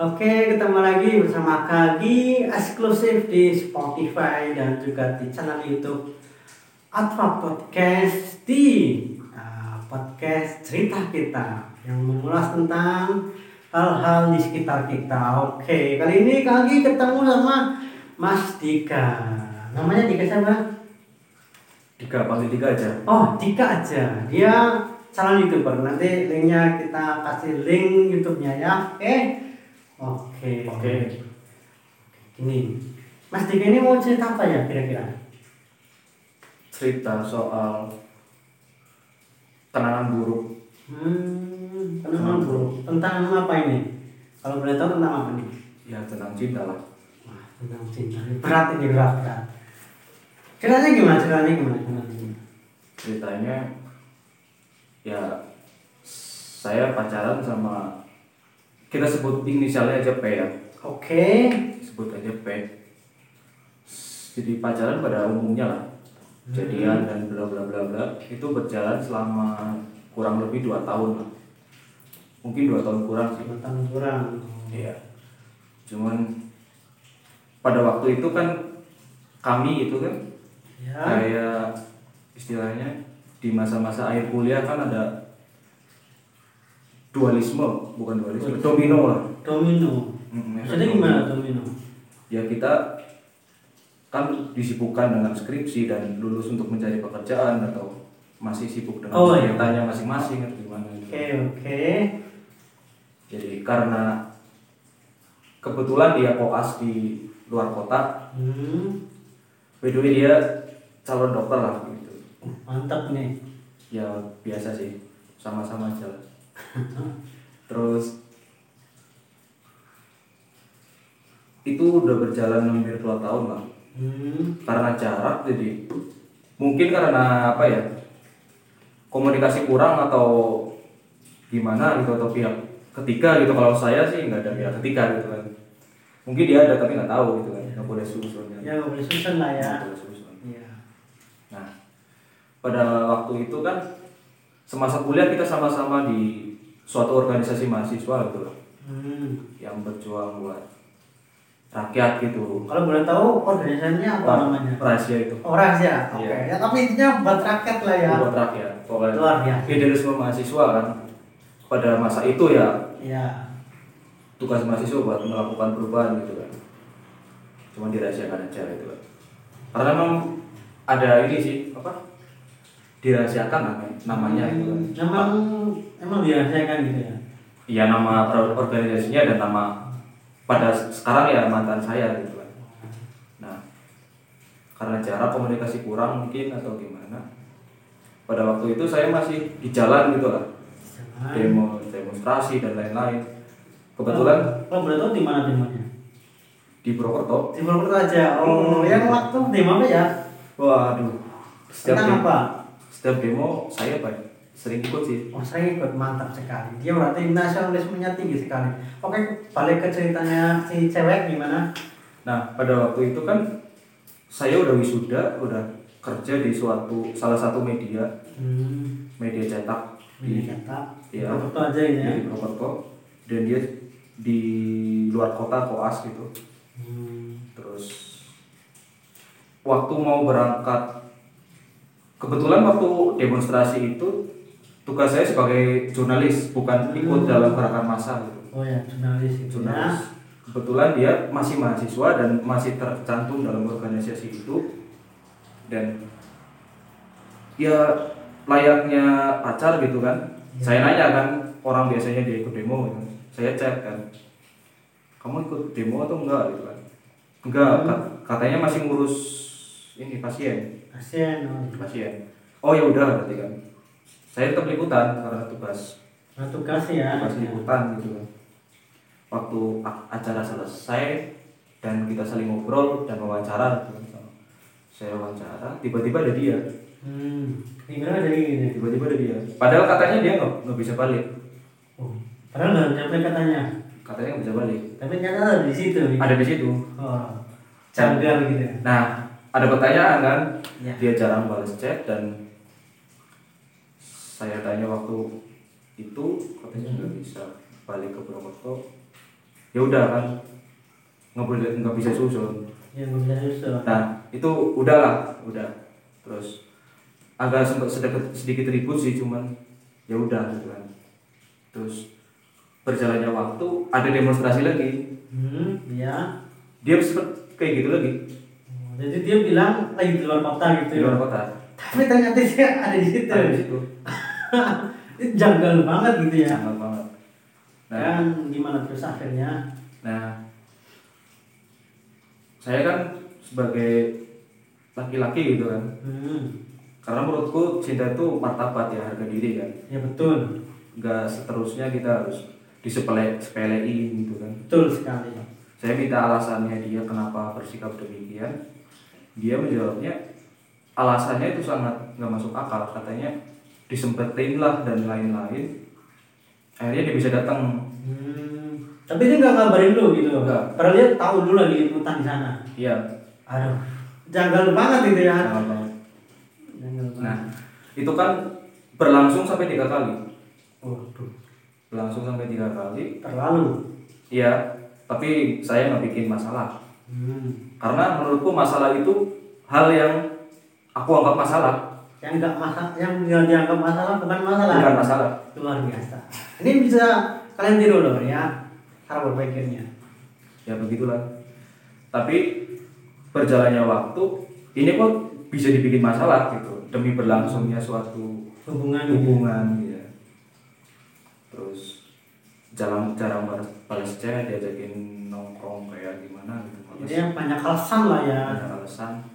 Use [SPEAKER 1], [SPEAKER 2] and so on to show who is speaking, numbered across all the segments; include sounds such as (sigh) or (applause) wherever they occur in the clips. [SPEAKER 1] Oke, ketemu lagi bersama kami eksklusif di Spotify dan juga di channel YouTube Atva Podcast di eh, podcast cerita kita yang mengulas tentang hal-hal di sekitar kita. Oke, kali ini kami ketemu sama Mas Dika. Namanya Dika siapa?
[SPEAKER 2] tiga paling tiga aja
[SPEAKER 1] Oh, Dika aja. Dia calon youtuber. Nanti linknya kita kasih link YouTube-nya ya. Oke. Oke.
[SPEAKER 2] Oke.
[SPEAKER 1] Gini. Mas Dika ini mau cerita apa ya kira-kira?
[SPEAKER 2] cerita soal kenangan buruk
[SPEAKER 1] Hmm, tentang buruk. Tentang apa ini? Kalau boleh tahu tentang apa nih?
[SPEAKER 2] ya tentang cinta lah
[SPEAKER 1] Wah, tentang cinta. Berat ini berat. berat. Ceritanya gimana? Ceritanya gimana? Ceritanya gimana?
[SPEAKER 2] ceritanya ya saya pacaran sama kita sebut inisialnya aja P ya
[SPEAKER 1] Oke.
[SPEAKER 2] sebut aja P jadi pacaran pada umumnya lah jadian dan bla bla bla bla itu berjalan selama kurang lebih dua tahun lah mungkin dua tahun kurang sih
[SPEAKER 1] Tentang kurang.
[SPEAKER 2] Iya. Cuman pada waktu itu kan kami itu kan
[SPEAKER 1] Ya.
[SPEAKER 2] kayak istilahnya di masa-masa akhir kuliah kan ada dualisme, bukan dualisme, domino lah.
[SPEAKER 1] Domino.
[SPEAKER 2] Mm, efek
[SPEAKER 1] Maksudnya gimana domino?
[SPEAKER 2] Ya kita kan disibukkan dengan skripsi dan lulus untuk mencari pekerjaan atau masih sibuk dengan
[SPEAKER 1] Oh, iya.
[SPEAKER 2] kegiatannya masing-masing atau gimana gitu.
[SPEAKER 1] Oke, oke.
[SPEAKER 2] Jadi karena kebetulan dia koas di luar kota,
[SPEAKER 1] Hmm,
[SPEAKER 2] By the way dia calon dokter lah gitu.
[SPEAKER 1] mantap nih.
[SPEAKER 2] Ya biasa sih, sama-sama aja lah. Terus itu udah berjalan hampir 2 tahun lah.
[SPEAKER 1] Hmm,
[SPEAKER 2] Karena jarak jadi mungkin karena apa ya? Komunikasi kurang atau gimana gitu atau pihak ketiga gitu kalau saya sih nggak ada pihak ketiga gitu kan mungkin dia ada tapi nggak tahu gitu kan nggak boleh susunnya
[SPEAKER 1] ya nggak boleh susah lah ya.
[SPEAKER 2] nggak boleh susun
[SPEAKER 1] Iya.
[SPEAKER 2] Nah, pada waktu itu kan semasa kuliah kita sama-sama di suatu organisasi mahasiswa gitu loh,
[SPEAKER 1] Hmm.
[SPEAKER 2] yang berjuang buat rakyat gitu.
[SPEAKER 1] Kalau boleh tahu organisasinya apa namanya?
[SPEAKER 2] Rahasia itu.
[SPEAKER 1] Orang sih ya. Oke.
[SPEAKER 2] Iya.
[SPEAKER 1] Ya, tapi intinya buat rakyat lah ya.
[SPEAKER 2] Buat rakyat. Pokoknya
[SPEAKER 1] Luar biasa.
[SPEAKER 2] idealisme mahasiswa kan pada masa itu ya
[SPEAKER 1] Iya.
[SPEAKER 2] tugas mahasiswa buat melakukan perubahan gitu kan. Cuman dirahasiakan aja gitu kan. Karena memang ada ini sih apa? dirahasiakan namanya, namanya gitu kan.
[SPEAKER 1] Hmm, Emang emang dirahasiakan gitu ya.
[SPEAKER 2] Iya nama pro- organisasinya dan nama pada sekarang ya mantan saya gitu kan. Nah, karena jarak komunikasi kurang mungkin atau gimana. Pada waktu itu saya masih di jalan gitu lah,
[SPEAKER 1] Jangan.
[SPEAKER 2] demo demonstrasi dan lain-lain. Kebetulan
[SPEAKER 1] Kalau boleh tahu di mana demonya?
[SPEAKER 2] di Purwokerto,
[SPEAKER 1] Di Purwokerto aja. Oh, yang waktu demo apa ya?
[SPEAKER 2] waduh, setiap
[SPEAKER 1] Tentang
[SPEAKER 2] demo,
[SPEAKER 1] apa?
[SPEAKER 2] setiap demo saya Pak, sering ikut sih.
[SPEAKER 1] Oh, saya ikut mantap sekali. Dia berarti nasionalismenya tinggi sekali. Oke, balik ke ceritanya si cewek gimana?
[SPEAKER 2] Nah, pada waktu itu kan saya udah wisuda, udah kerja di suatu salah satu media
[SPEAKER 1] Hmm,
[SPEAKER 2] media cetak
[SPEAKER 1] ini
[SPEAKER 2] di
[SPEAKER 1] kata.
[SPEAKER 2] Iya.
[SPEAKER 1] Foto aja ini ya.
[SPEAKER 2] di Purwokerto dan dia di luar kota koas gitu
[SPEAKER 1] Hmm.
[SPEAKER 2] terus waktu mau berangkat kebetulan waktu demonstrasi itu tugas saya sebagai jurnalis bukan ikut dalam gerakan massa gitu
[SPEAKER 1] Oh ya, jurnalis itu ya.
[SPEAKER 2] jurnalis kebetulan dia masih mahasiswa dan masih tercantum dalam organisasi itu dan ya layaknya pacar gitu kan
[SPEAKER 1] Ya.
[SPEAKER 2] saya nanya kan orang biasanya dia ikut demo gitu. saya cek kan kamu ikut demo atau enggak gitu kan enggak
[SPEAKER 1] Hmm.
[SPEAKER 2] kat- katanya masih ngurus ini pasien
[SPEAKER 1] Kasian. oh.
[SPEAKER 2] pasien oh ya udah berarti kan saya tetap liputan karena tugas
[SPEAKER 1] Nah, tugas ya.
[SPEAKER 2] pas liputan gitu kan waktu a- acara selesai dan kita saling ngobrol dan wawancara gitu kan. saya wawancara tiba-tiba ada dia
[SPEAKER 1] Hmm. Gimana dari gini?
[SPEAKER 2] tiba-tiba ada dia padahal katanya dia nggak nggak bisa balik
[SPEAKER 1] Oh, padahal nggak nyampe katanya.
[SPEAKER 2] katanya nggak bisa balik
[SPEAKER 1] Tapi ternyata ada di situ. ya.
[SPEAKER 2] ada di situ
[SPEAKER 1] Oh, janggal gitu ya.
[SPEAKER 2] nah ada pertanyaan kan
[SPEAKER 1] Ya.
[SPEAKER 2] dia jarang balas chat dan saya tanya waktu itu katanya nggak bisa balik ke Purwokerto ya udah kan nggak boleh nggak bisa susun
[SPEAKER 1] yang bisa susah
[SPEAKER 2] Nah, itu udahlah, udah. Terus agak sempat sedikit, sedikit ribut sih, cuman ya udah gitu kan. Terus berjalannya waktu ada demonstrasi lagi.
[SPEAKER 1] hmm ya
[SPEAKER 2] Dia sempet kayak gitu lagi
[SPEAKER 1] Oh, jadi dia bilang lagi di luar kota gitu
[SPEAKER 2] di
[SPEAKER 1] ya
[SPEAKER 2] luar kota.
[SPEAKER 1] tapi ternyata dia ada di situ
[SPEAKER 2] Ada di
[SPEAKER 1] (laughs)
[SPEAKER 2] situ.
[SPEAKER 1] Itu janggal banget gitu ya
[SPEAKER 2] Sangat banget. Nah,
[SPEAKER 1] dan gimana terus akhirnya
[SPEAKER 2] nah saya kan sebagai laki-laki gitu kan.
[SPEAKER 1] hmm
[SPEAKER 2] Karena menurutku cinta itu martabat ya harga diri kan.
[SPEAKER 1] ya betul
[SPEAKER 2] nggak seterusnya kita harus disepele sepelein gitu kan
[SPEAKER 1] betul sekali
[SPEAKER 2] saya minta alasannya dia kenapa bersikap demikian dia menjawabnya alasannya itu sangat nggak masuk akal katanya disempetin lah dan lain-lain akhirnya dia bisa datang
[SPEAKER 1] hmm tapi dia nggak ngabarin lu gitu
[SPEAKER 2] Nggak.
[SPEAKER 1] padahal dia tahu dulu lagi liputan di sana
[SPEAKER 2] iya
[SPEAKER 1] aduh janggal banget gitu ya
[SPEAKER 2] salah banget.
[SPEAKER 1] janggal
[SPEAKER 2] nah
[SPEAKER 1] banget
[SPEAKER 2] itu kan berlangsung sampai tiga kali
[SPEAKER 1] waduh
[SPEAKER 2] berlangsung sampai tiga kali
[SPEAKER 1] terlalu
[SPEAKER 2] iya tapi saya nggak bikin masalah
[SPEAKER 1] hmm
[SPEAKER 2] karena menurutku masalah itu hal yang aku anggap masalah
[SPEAKER 1] yang nggak masalah yang nggak dianggap masalah bukan masalah
[SPEAKER 2] bukan masalah
[SPEAKER 1] luar biasa ini bisa kalian tiru loh ya cara berpikirnya
[SPEAKER 2] ya begitulah tapi berjalannya waktu ini kok bisa dibikin masalah gitu demi berlangsungnya suatu
[SPEAKER 1] hubungan
[SPEAKER 2] hubungan gitu ya. terus jarang jarang bar- balas chat diajakin nongkrong kayak gimana gitu
[SPEAKER 1] jadi yang banyak alasan lah ya
[SPEAKER 2] ada alasan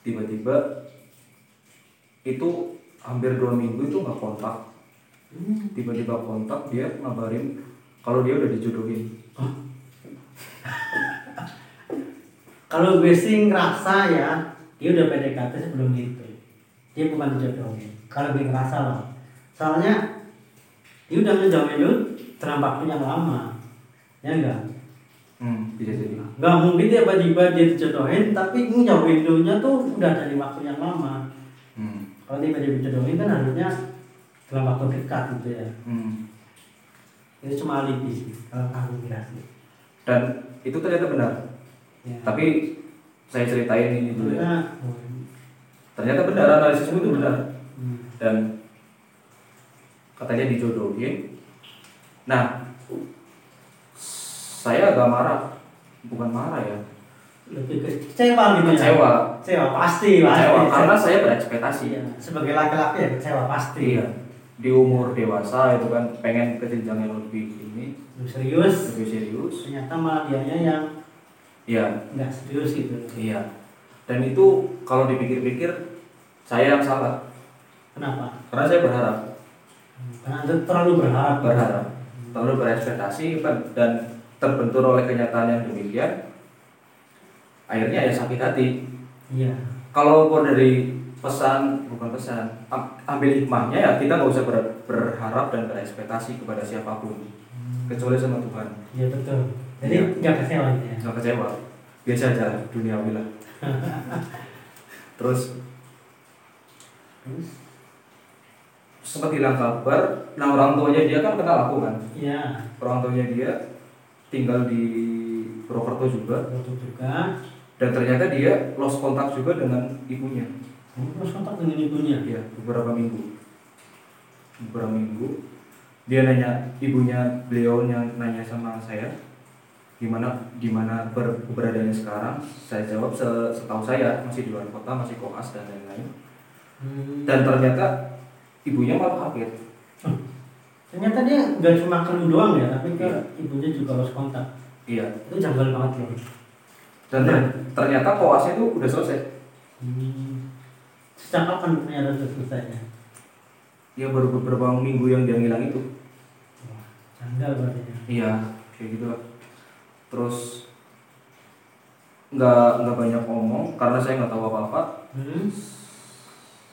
[SPEAKER 2] tiba-tiba itu hampir dua minggu itu nggak kontak
[SPEAKER 1] Hmm.
[SPEAKER 2] tiba-tiba kontak dia ngabarin kalau dia udah dijodohin
[SPEAKER 1] kalau gue sih ngerasa ya dia udah PDKT sebelum itu dia bukan jodohnya kalau gue ngerasa loh soalnya dia udah ngejauhin lu dalam waktu yang lama ya enggak
[SPEAKER 2] hmm, bisa jadi
[SPEAKER 1] nggak mungkin dia tiba-tiba dia dijodohin tapi ngejauhin lu nya tuh udah dari waktu yang lama
[SPEAKER 2] hmm.
[SPEAKER 1] kalau tiba-tiba dijodohin kan harusnya dalam waktu dekat gitu ya
[SPEAKER 2] Hmm.
[SPEAKER 1] itu cuma alibi sih kalau kamu ngerasa
[SPEAKER 2] dan itu ternyata benar
[SPEAKER 1] ya.
[SPEAKER 2] tapi saya ceritain ini dulu ya
[SPEAKER 1] Karena-
[SPEAKER 2] ternyata benar analisismu itu benar
[SPEAKER 1] Hmm.
[SPEAKER 2] dan katanya dijodohin nah saya agak marah bukan marah ya
[SPEAKER 1] lebih ke- kecewa gitu ya
[SPEAKER 2] Kecewa.
[SPEAKER 1] kecewa pasti pasti
[SPEAKER 2] kecewa karena saya berekspektasi
[SPEAKER 1] Iya, sebagai laki-laki ya kecewa pasti
[SPEAKER 2] iya di umur dewasa itu kan pengen ke jenjang yang lebih ini
[SPEAKER 1] Lu serius
[SPEAKER 2] lebih serius
[SPEAKER 1] ternyata malah dianya yang
[SPEAKER 2] iya
[SPEAKER 1] nggak serius gitu
[SPEAKER 2] iya dan itu kalau dipikir-pikir saya yang salah
[SPEAKER 1] kenapa
[SPEAKER 2] karena saya berharap
[SPEAKER 1] karena itu terlalu berharap Hmm.
[SPEAKER 2] berharap terlalu berekspektasi Pak, dan terbentur oleh kenyataan yang demikian akhirnya ya sakit hati
[SPEAKER 1] iya
[SPEAKER 2] kalau ukur dari pesan bukan pesan am- ambil hikmahnya ya kita nggak usah ber- berharap dan berekspektasi kepada siapapun kecuali sama Tuhan
[SPEAKER 1] iya betul jadi
[SPEAKER 2] Iya.
[SPEAKER 1] nggak kecewa gitu ya
[SPEAKER 2] nggak kecewa biasa aja lah duniawi lah terus
[SPEAKER 1] terus
[SPEAKER 2] sempat hilang kabar nah orang tuanya dia kan kenal aku kan
[SPEAKER 1] iya
[SPEAKER 2] orang tuanya dia tinggal di Purwokerto juga
[SPEAKER 1] waktu juga
[SPEAKER 2] dan ternyata dia lost kontak juga dengan ibunya
[SPEAKER 1] kamu terus kontak dengan ibunya
[SPEAKER 2] ya beberapa minggu beberapa minggu dia nanya ibunya beliau yang nanya sama saya gimana gimana ber, keberadaannya sekarang saya jawab "Se- setahu saya masih di luar kota masih koas dan lain-lain
[SPEAKER 1] Hmm.
[SPEAKER 2] dan ternyata ibunya malah kaget
[SPEAKER 1] ternyata dia nggak cuma ke lu doang ya tapi ke
[SPEAKER 2] Iya.
[SPEAKER 1] ibunya juga harus kontak
[SPEAKER 2] iya
[SPEAKER 1] itu janggal banget loh
[SPEAKER 2] dan ter- ternyata koasnya itu udah selesai
[SPEAKER 1] Hmm. Sejak kapan ternyata itu selesainya?
[SPEAKER 2] ya baru beberapa minggu yang dia ngilang itu
[SPEAKER 1] Wah, janggal berarti ya.
[SPEAKER 2] iya kayak gitu lah terus nggak nggak banyak ngomong karena saya nggak tahu apa apa
[SPEAKER 1] Hmm.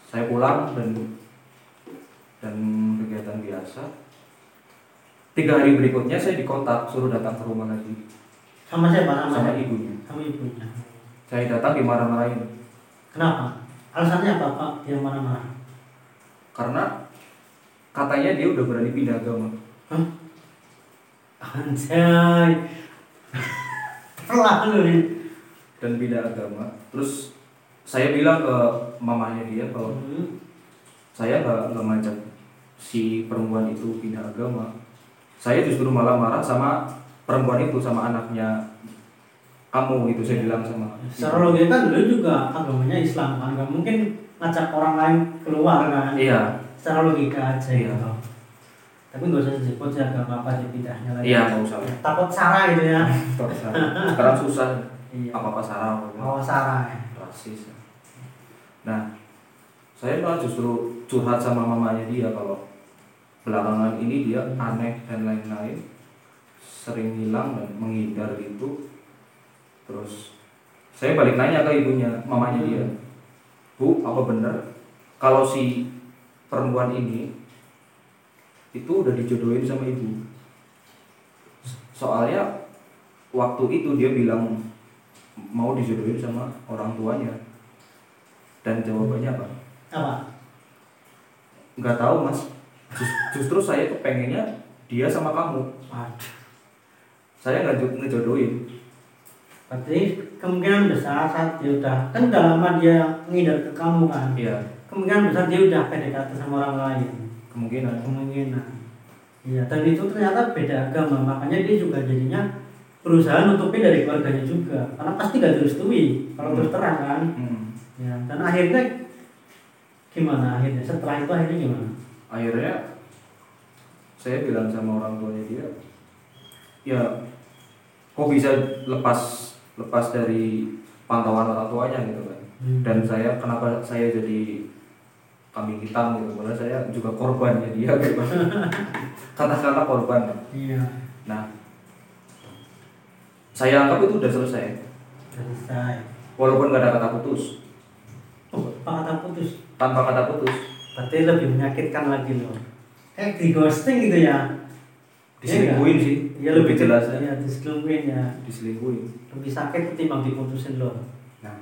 [SPEAKER 2] saya pulang dan dan kegiatan biasa tiga hari berikutnya saya dikontak suruh datang ke rumah lagi
[SPEAKER 1] Sama siapa?
[SPEAKER 2] sama
[SPEAKER 1] Sama,
[SPEAKER 2] ibunya
[SPEAKER 1] sama ibunya.
[SPEAKER 2] saya datang dimarah-marahin
[SPEAKER 1] Kenapa? Alasannya apa Pak? Dia marah-marah.
[SPEAKER 2] karena katanya dia udah berani pindah agama
[SPEAKER 1] Hah? anjay (laughs) terlalu nih
[SPEAKER 2] dan beda agama terus saya bilang ke mamanya dia kalau saya nggak nggak ngajak si perempuan itu pindah agama saya justru malah marah sama perempuan itu sama anaknya kamu gitu saya bilang sama
[SPEAKER 1] secara logika kan lu juga agamanya Islam kan nggak mungkin ngajak orang lain keluar kan
[SPEAKER 2] iya
[SPEAKER 1] secara logika aja
[SPEAKER 2] Iya.
[SPEAKER 1] gitu tapi nggak usah disebut sih agama apa sih pindahnya lagi
[SPEAKER 2] iya nggak usah
[SPEAKER 1] takut Sarah gitu ya
[SPEAKER 2] Nggak usah. sekarang susah
[SPEAKER 1] iya
[SPEAKER 2] apa apa sarang
[SPEAKER 1] oh Sarah ya
[SPEAKER 2] rasis nah saya malah justru curhat sama mamanya dia kalau belakangan ini dia
[SPEAKER 1] Hmm.
[SPEAKER 2] aneh dan lain-lain sering hilang dan menghindar gitu terus saya balik nanya ke ibunya mamanya dia bu apa bener kalau si perempuan ini itu udah dijodohin sama ibu soalnya waktu itu dia bilang mau dijodohin sama orang tuanya dan jawabannya apa
[SPEAKER 1] apa
[SPEAKER 2] nggak tahu mas Jus- justru saya tuh pengennya dia sama kamu
[SPEAKER 1] Waduh.
[SPEAKER 2] saya nggak jo- ngejodohin
[SPEAKER 1] berarti kemungkinan besar saat dia udah kan udah lama dia ngidar ke kamu kan
[SPEAKER 2] iya
[SPEAKER 1] kemungkinan besar dia udah PDKT sama orang lain
[SPEAKER 2] kemungkinan
[SPEAKER 1] kemungkinan iya dan itu ternyata beda agama makanya dia juga jadinya berusaha nutupin dari keluarganya juga karena pasti gak direstui kalau
[SPEAKER 2] Hmm.
[SPEAKER 1] terus terang kan
[SPEAKER 2] Hmm.
[SPEAKER 1] ya dan akhirnya gimana akhirnya setelah itu akhirnya gimana
[SPEAKER 2] akhirnya saya bilang sama orang tuanya dia ya kok bisa lepas lepas dari pantauan orang tuanya gitu kan
[SPEAKER 1] Hmm.
[SPEAKER 2] dan saya kenapa saya jadi kambing hitam gitu karena saya juga korbannya dia gitu (laughs) katakanlah korban
[SPEAKER 1] iya
[SPEAKER 2] nah saya anggap itu udah selesai
[SPEAKER 1] selesai
[SPEAKER 2] walaupun gak ada kata putus
[SPEAKER 1] oh apa kata putus
[SPEAKER 2] tanpa kata putus
[SPEAKER 1] Iya, berarti lebih menyakitkan lagi loh kayak di ghosting gitu ya
[SPEAKER 2] diselingkuin sih
[SPEAKER 1] Iya
[SPEAKER 2] lebih jelas ya
[SPEAKER 1] ya diselingkuhin ya
[SPEAKER 2] diselingkuin
[SPEAKER 1] lebih sakit ketimbang diputusin loh
[SPEAKER 2] nah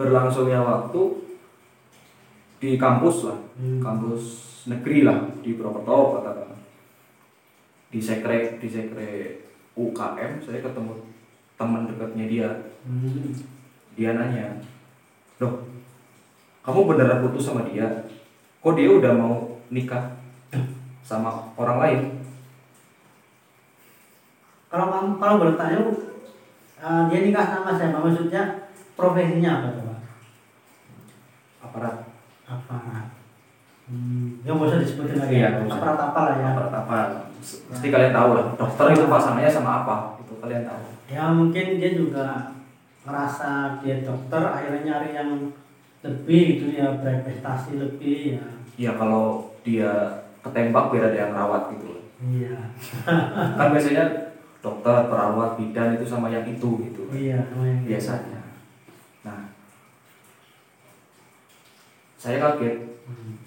[SPEAKER 2] berlangsungnya waktu di kampus lah
[SPEAKER 1] Hmm.
[SPEAKER 2] kampus negeri lah di Purwokerto katakan di sekre di sekre UKM saya ketemu teman dekatnya dia
[SPEAKER 1] Hmm.
[SPEAKER 2] dia nanya loh kamu beneran putus sama dia kok dia udah mau nikah sama orang lain
[SPEAKER 1] kalau kamu kalau boleh tanya eh, dia nikah sama siapa maksudnya profesinya apa coba
[SPEAKER 2] aparat
[SPEAKER 1] apa hmm. ya nggak usah disebutin lagi
[SPEAKER 2] Iya, nggak usah.
[SPEAKER 1] aparat apa lah ya
[SPEAKER 2] aparat apa pasti kalian tahu lah dokter itu pasangannya sama apa itu kalian tahu
[SPEAKER 1] ya mungkin dia juga merasa dia dokter akhirnya nyari yang lebih gitu ya berprestasi lebih ya
[SPEAKER 2] ya kalau dia ketembak biar ada yang rawat gitu loh.
[SPEAKER 1] iya
[SPEAKER 2] kan biasanya dokter perawat bidan itu sama yang itu gitu
[SPEAKER 1] iya lumayan.
[SPEAKER 2] biasanya nah saya kaget
[SPEAKER 1] Hmm.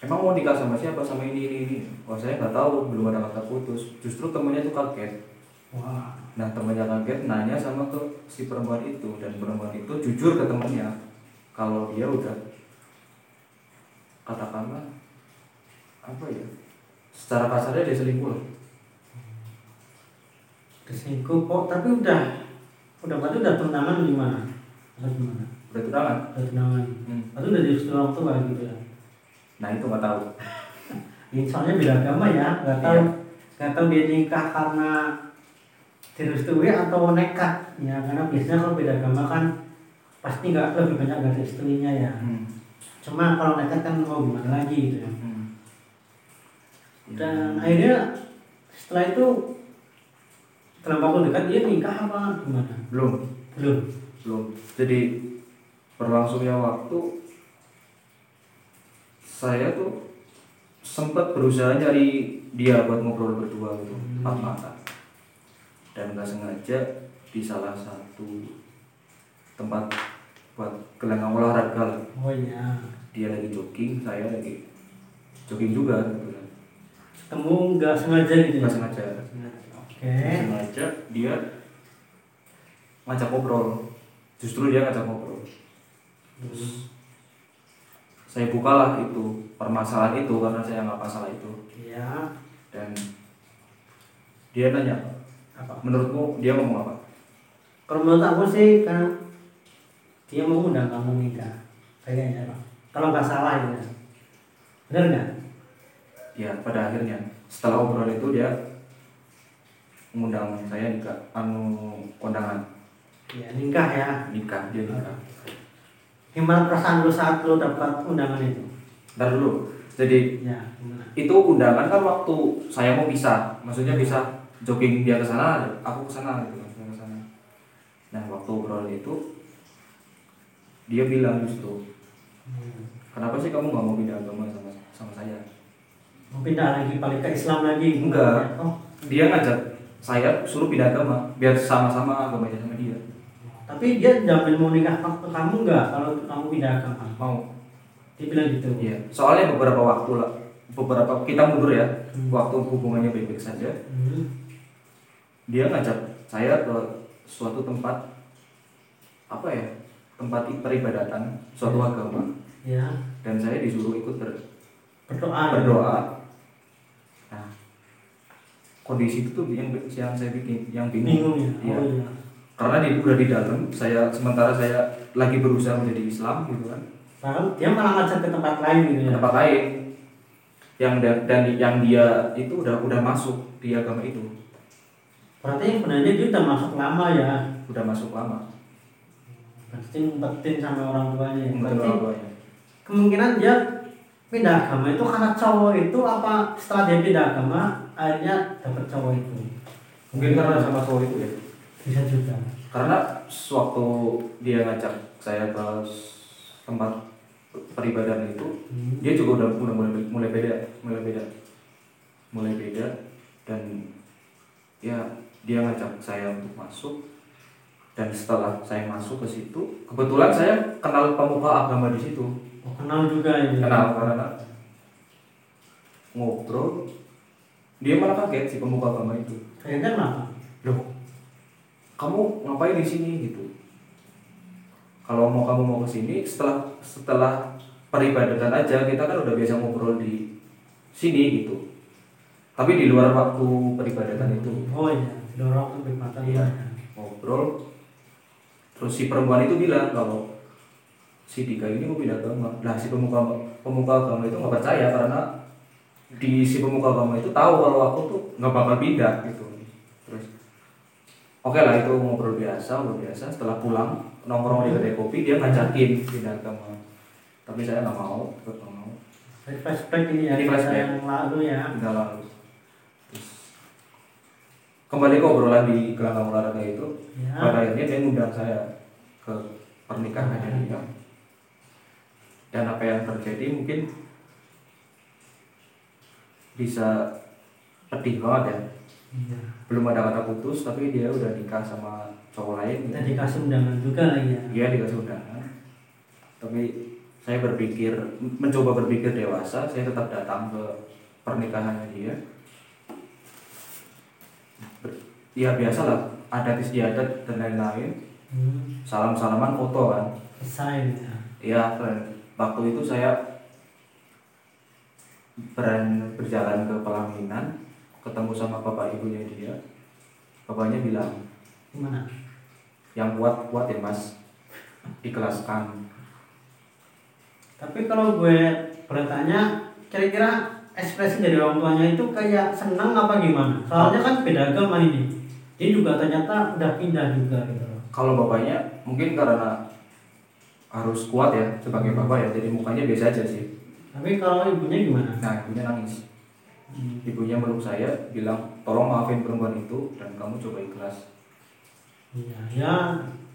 [SPEAKER 2] emang mau nikah sama siapa sama ini ini ini oh saya nggak tahu belum ada kata putus justru temennya tuh kaget
[SPEAKER 1] wah
[SPEAKER 2] nah temennya kaget nanya sama ke si perempuan itu dan perempuan itu jujur ke temennya kalau dia udah katakanlah apa ya secara kasarnya dia selingkuh lah.
[SPEAKER 1] Kesingkuh kok, tapi udah udah berarti udah tunangan gimana? Atau gimana?
[SPEAKER 2] udah tunangan
[SPEAKER 1] Udah tunangan.
[SPEAKER 2] Hmm.
[SPEAKER 1] Atau udah diusul orang tua gitu ya.
[SPEAKER 2] nah itu nggak tahu
[SPEAKER 1] Ya, soalnya beda agama ya, nggak
[SPEAKER 2] Iya.
[SPEAKER 1] tahu nggak tahu dia nikah karena direstui atau nekat ya karena biasanya kalau beda agama kan pasti nggak lebih banyak nggak direstuinya ya
[SPEAKER 2] Hmm.
[SPEAKER 1] cuma kalau nekat kan mau gimana lagi gitu ya
[SPEAKER 2] Hmm.
[SPEAKER 1] dan akhirnya setelah itu dalam waktu dekat dia nikah apa gimana
[SPEAKER 2] belum
[SPEAKER 1] belum
[SPEAKER 2] belum jadi berlangsungnya waktu saya tuh sempat berusaha nyari dia buat ngobrol berdua gitu
[SPEAKER 1] Hmm.
[SPEAKER 2] empat mata dan nggak sengaja di salah satu tempat buat gelanggang olahraga lah.
[SPEAKER 1] oh iya
[SPEAKER 2] dia lagi jogging saya lagi jogging juga gitu kan
[SPEAKER 1] ketemu nggak sengaja gitu ya
[SPEAKER 2] nggak sengaja
[SPEAKER 1] Oke.
[SPEAKER 2] Nggak sengaja dia ngajak ngobrol justru dia ngajak ngobrol terus saya bukalah itu permasalahan itu karena saya nggak masalah itu
[SPEAKER 1] Ya.
[SPEAKER 2] dan dia nanya apa?
[SPEAKER 1] Apa?
[SPEAKER 2] menurutmu dia ngomong apa
[SPEAKER 1] Kalau menurut aku sih karena dia mau undang kamu nikah kayaknya ya, Pak. Kalau nggak salah ya. Bener nggak?
[SPEAKER 2] ya pada akhirnya setelah obrolan itu dia mengundang saya nikah anu kondangan
[SPEAKER 1] Ya nikah ya.
[SPEAKER 2] nikah dia nikah
[SPEAKER 1] Gimana perasaan lu saat lu dapat undangan itu?
[SPEAKER 2] ntar dulu jadi
[SPEAKER 1] Ya gimana?
[SPEAKER 2] itu undangan kan waktu saya mau pisah maksudnya bisa jogging dia ke sana aku ke sana gitu kan, saya ke sana nah waktu obrolan itu dia bilang justru
[SPEAKER 1] Hmm.
[SPEAKER 2] kenapa sih kamu nggak mau pindah agama sama sama saya
[SPEAKER 1] Mau pindah lagi balik ke Islam lagi?
[SPEAKER 2] Enggak.
[SPEAKER 1] Oh.
[SPEAKER 2] dia ngajak saya suruh pindah agama biar sama-sama agamanya sama dia
[SPEAKER 1] Tapi dia jamin mau nikah ke kamu nggak kalau kamu pindah agama?
[SPEAKER 2] mau
[SPEAKER 1] Dia bilang gitu.
[SPEAKER 2] Iya, soalnya beberapa waktu lah, beberapa kita mundur ya,
[SPEAKER 1] Hmm.
[SPEAKER 2] waktu hubungannya baik-baik saja,
[SPEAKER 1] Hmm.
[SPEAKER 2] dia ngajak saya ke suatu tempat apa ya, tempat i- peribadatan, suatu
[SPEAKER 1] Hmm.
[SPEAKER 2] agama,
[SPEAKER 1] Ya.
[SPEAKER 2] dan saya disuruh ikut ber-
[SPEAKER 1] Berdoa.
[SPEAKER 2] berdoa. Nah, kondisi itu tuh yang yang saya bikin, yang bingung.
[SPEAKER 1] Bingung ya.
[SPEAKER 2] Iya.
[SPEAKER 1] Oh iya.
[SPEAKER 2] Karena di, udah di dalam, saya sementara saya lagi berusaha menjadi Islam gitu kan.
[SPEAKER 1] Padahal dia malah ngajak ke tempat lain gitu
[SPEAKER 2] ke
[SPEAKER 1] ya.
[SPEAKER 2] tempat lain yang da- dan yang dia itu udah udah masuk di agama itu
[SPEAKER 1] Berarti sebenarnya dia udah masuk lama ya.
[SPEAKER 2] udah masuk lama
[SPEAKER 1] Berarti ngumpetin sama orang tuanya. ya.
[SPEAKER 2] menurut
[SPEAKER 1] Berarti
[SPEAKER 2] orang tuanya
[SPEAKER 1] kemungkinan dia pindah agama itu karena cowok itu apa setelah dia pindah agama akhirnya dapet cowok itu.
[SPEAKER 2] mungkin karena sama cowok itu ya
[SPEAKER 1] bisa juga.
[SPEAKER 2] karena sewaktu dia ngajak saya ke s- tempat peribadahan itu
[SPEAKER 1] Hmm.
[SPEAKER 2] dia juga udah udah mulai mulai beda mulai beda mulai beda dan ya dia ngajak saya untuk masuk dan setelah saya masuk ke situ kebetulan saya kenal pemuka agama di situ
[SPEAKER 1] Oh, kenal juga ya.
[SPEAKER 2] kenal karena ngobrol dia malah kaget si pemuka agama itu
[SPEAKER 1] Kayaknya kenapa?
[SPEAKER 2] loh kamu ngapain di sini gitu kalau mau kamu mau ke sini setelah setelah peribadatan aja kita kan udah biasa ngobrol di sini gitu tapi di luar waktu peribadatan itu
[SPEAKER 1] Oh iya, dorong untuk bermata
[SPEAKER 2] Iya. ngobrol terus si perempuan itu bilang kalau si Dika ini mau pindah agama nah si pemuka pemuka agama itu nggak percaya karena di si pemuka agama itu tahu kalau aku tuh nggak bakal pindah gitu terus oke lah itu ngobrol biasa ngobrol biasa setelah pulang nongkrong di kedai kopi dia ngajakin pindah agama tapi saya nggak mau tetap nggak mau
[SPEAKER 1] Dari flashback ini ya,
[SPEAKER 2] Ini
[SPEAKER 1] kisah
[SPEAKER 2] flashback.
[SPEAKER 1] yang lalu ya.
[SPEAKER 2] tinggal lalu terus kembali ke obrolan di gelanggang olahraga itu
[SPEAKER 1] Ya.
[SPEAKER 2] pada akhirnya dia ngundang saya ke pernikahannya dia dan apa yang terjadi mungkin bisa pedih banget ya
[SPEAKER 1] Iya.
[SPEAKER 2] belum ada kata putus tapi dia udah nikah sama cowok lain Iya,
[SPEAKER 1] Kita dikasih undangan juga lagi ya.
[SPEAKER 2] dia dikasih undangan tapi saya berpikir mencoba berpikir dewasa saya tetap datang ke pernikahannya dia Ber- ya biasalah adat istiadat dan lain-lain
[SPEAKER 1] Hmm.
[SPEAKER 2] salam salaman foto kan
[SPEAKER 1] Selesai ya.
[SPEAKER 2] ya keren waktu itu saya beran berjalan ke pelaminan ketemu sama bapak ibunya dia bapaknya bilang
[SPEAKER 1] Gimana?
[SPEAKER 2] yang kuat kuat ya mas ikhlaskan
[SPEAKER 1] Tapi kalau gue bertanya, kira-kira ekspresi dari orang tuanya itu kayak senang apa gimana? Soalnya kan beda agama ini. Dia juga ternyata udah pindah juga gitu. loh.
[SPEAKER 2] kalau bapaknya mungkin karena harus kuat ya sebagai bapak ya jadi mukanya biasa aja sih
[SPEAKER 1] Tapi kalau ibunya gimana?
[SPEAKER 2] nah ibunya nangis
[SPEAKER 1] Hmm.
[SPEAKER 2] ibunya meluk saya bilang tolong maafin perempuan itu dan kamu coba ikhlas
[SPEAKER 1] Iya, ya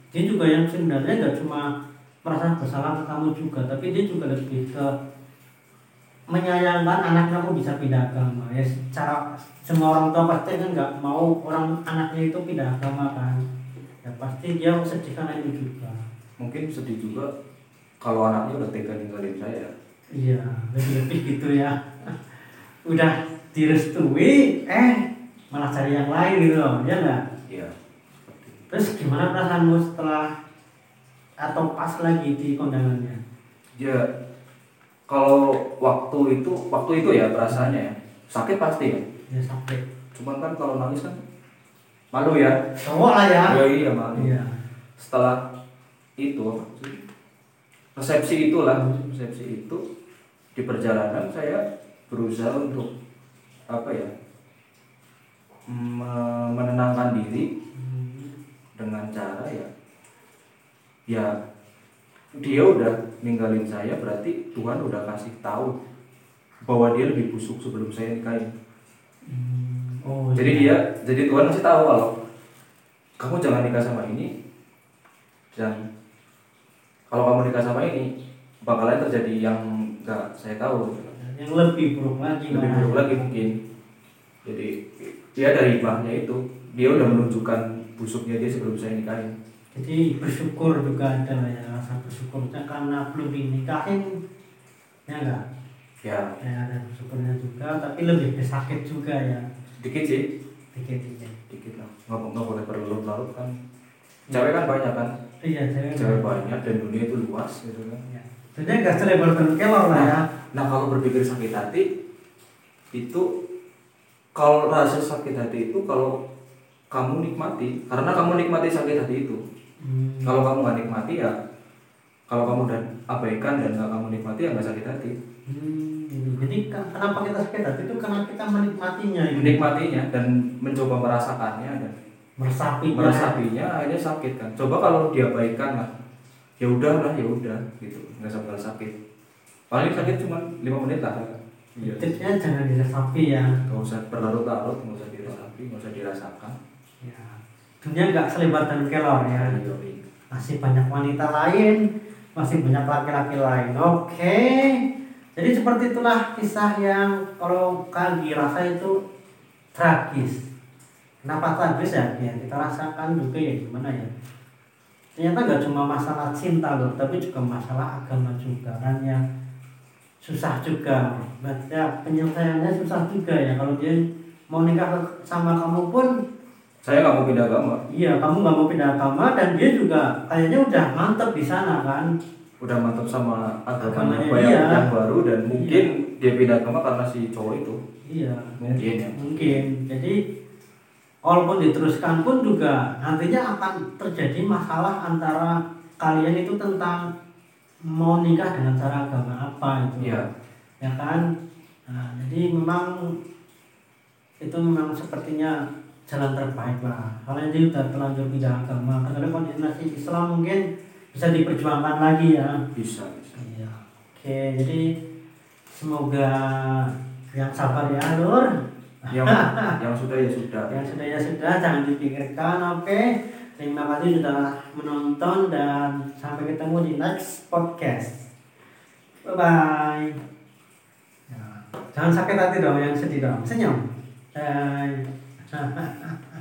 [SPEAKER 1] dia juga yang sebenarnya nggak cuma merasa bersalah ke kamu juga, tapi dia juga lebih ke menyayangkan anak kamu bisa pindah agama ya secara semua orang tua pasti kan nggak mau orang anaknya itu pindah agama kan ya pasti dia sedih karena itu juga
[SPEAKER 2] mungkin sedih juga kalau anaknya udah tega ninggalin saya
[SPEAKER 1] Iya, lebih-lebih gitu ya. (laughs) Udah direstui, eh malah cari yang lain gitu loh, ya nggak?
[SPEAKER 2] ya seperti itu.
[SPEAKER 1] Terus gimana perasaanmu setelah atau pas lagi di kondangannya?
[SPEAKER 2] ya kalau waktu itu waktu itu ya perasaannya ya sakit pasti ya
[SPEAKER 1] Ya sampai
[SPEAKER 2] cuman kan kalau nangis kan malu ya
[SPEAKER 1] cowok lah ya
[SPEAKER 2] ya iya malu
[SPEAKER 1] iya
[SPEAKER 2] setelah itu apa sih? resepsi itulah resepsi itu di perjalanan saya berusaha untuk apa ya me- menenangkan diri Hmm. dengan cara ya ya dia udah ninggalin saya berarti Tuhan udah kasih tahu bahwa dia lebih busuk sebelum saya nikahin
[SPEAKER 1] Hmm. oh
[SPEAKER 2] jadi
[SPEAKER 1] iya.
[SPEAKER 2] dia jadi Tuhan masih tahu kalau kamu jangan nikah sama ini dan kalau kamu nikah sama ini bakalan terjadi yang nggak saya tahu
[SPEAKER 1] yang lebih buruk lagi
[SPEAKER 2] lebih
[SPEAKER 1] malah.
[SPEAKER 2] buruk lagi mungkin jadi dia dari hikmahnya itu dia udah menunjukkan busuknya dia sebelum saya nikahin
[SPEAKER 1] jadi bersyukur juga ada lah ya rasa bersyukurnya karena belum dinikahin ya enggak
[SPEAKER 2] ya
[SPEAKER 1] ya ada bersyukurnya juga tapi lebih sakit juga ya
[SPEAKER 2] dikit sih
[SPEAKER 1] dikit-dikit
[SPEAKER 2] dikit lah nggak nggak boleh berlarut-larut kan cewek kan banyak kan
[SPEAKER 1] iya saya
[SPEAKER 2] cewek banyak dan dunia itu luas gitu kan
[SPEAKER 1] ya. sebenarnya nggak selebar kelor lah ya
[SPEAKER 2] Nah kalau berpikir sakit hati itu kalau rasa sakit hati itu kalau kamu nikmati karena kamu nikmati sakit hati itu
[SPEAKER 1] Hmm.
[SPEAKER 2] kalau kamu nggak nikmati ya kalau kamu dan abaikan dan nggak kamu nikmati ya nggak sakit hati
[SPEAKER 1] Hmm, gitu. Jadi ke- kenapa kita sakit hati itu karena kita menikmatinya gitu.
[SPEAKER 2] menikmatinya dan mencoba merasakannya dan
[SPEAKER 1] Meresapinya.
[SPEAKER 2] merasapinya akhirnya sakit kan coba kalau diabaikan lah ya udahlah ya udah gitu nggak sampai sakit paling sakit cuma lima menit lah Iya.
[SPEAKER 1] Tipsnya jangan diresapi ya.
[SPEAKER 2] nggak usah berlarut-larut nggak usah dirasapi nggak usah dirasakan
[SPEAKER 1] ya. Dunia nggak selebar dan kelor ya.
[SPEAKER 2] Iya.
[SPEAKER 1] Masih banyak wanita lain, masih banyak laki-laki lain. Oke. Jadi seperti itulah kisah yang kalau kali rasa itu tragis. Kenapa tragis ya? ya kita rasakan juga ya gimana ya. Ternyata nggak cuma masalah cinta loh, tapi juga masalah agama juga kan yang susah juga. Maksudnya penyelesaiannya susah juga ya kalau dia mau nikah sama kamu pun
[SPEAKER 2] saya nggak mau pindah agama
[SPEAKER 1] Iya, kamu nggak mau pindah agama dan dia juga kayaknya udah mantep di sana kan.
[SPEAKER 2] udah mantap sama agama
[SPEAKER 1] Agamanya
[SPEAKER 2] yang, banyak-
[SPEAKER 1] dia.
[SPEAKER 2] yang baru dan mungkin dia pindah agama karena si cowok itu
[SPEAKER 1] Iya.
[SPEAKER 2] Mungkin ya.
[SPEAKER 1] Mungkin. Jadi walaupun diteruskan pun juga nantinya akan terjadi masalah antara kalian itu tentang mau nikah dengan cara agama apa itu.
[SPEAKER 2] Iya.
[SPEAKER 1] Ya kan. Nah, jadi memang itu memang sepertinya jalan terbaik lah. Kalau dia udah terlanjur pindah agama, kecuali koordinasi Islam mungkin bisa diperjuangkan lagi ya.
[SPEAKER 2] bisa bisa
[SPEAKER 1] Iya. Oke, jadi semoga yang sabar ya, Nur. (laughs)
[SPEAKER 2] yang yang sudah ya sudah
[SPEAKER 1] Yang sudah ya sudah, jangan dipikirkan. Oke. Terima kasih sudah menonton dan sampai ketemu di next podcast. Bye bye. Ya, jangan sakit hati dong, yang sedih dong. Senyum. Bye. (laughs)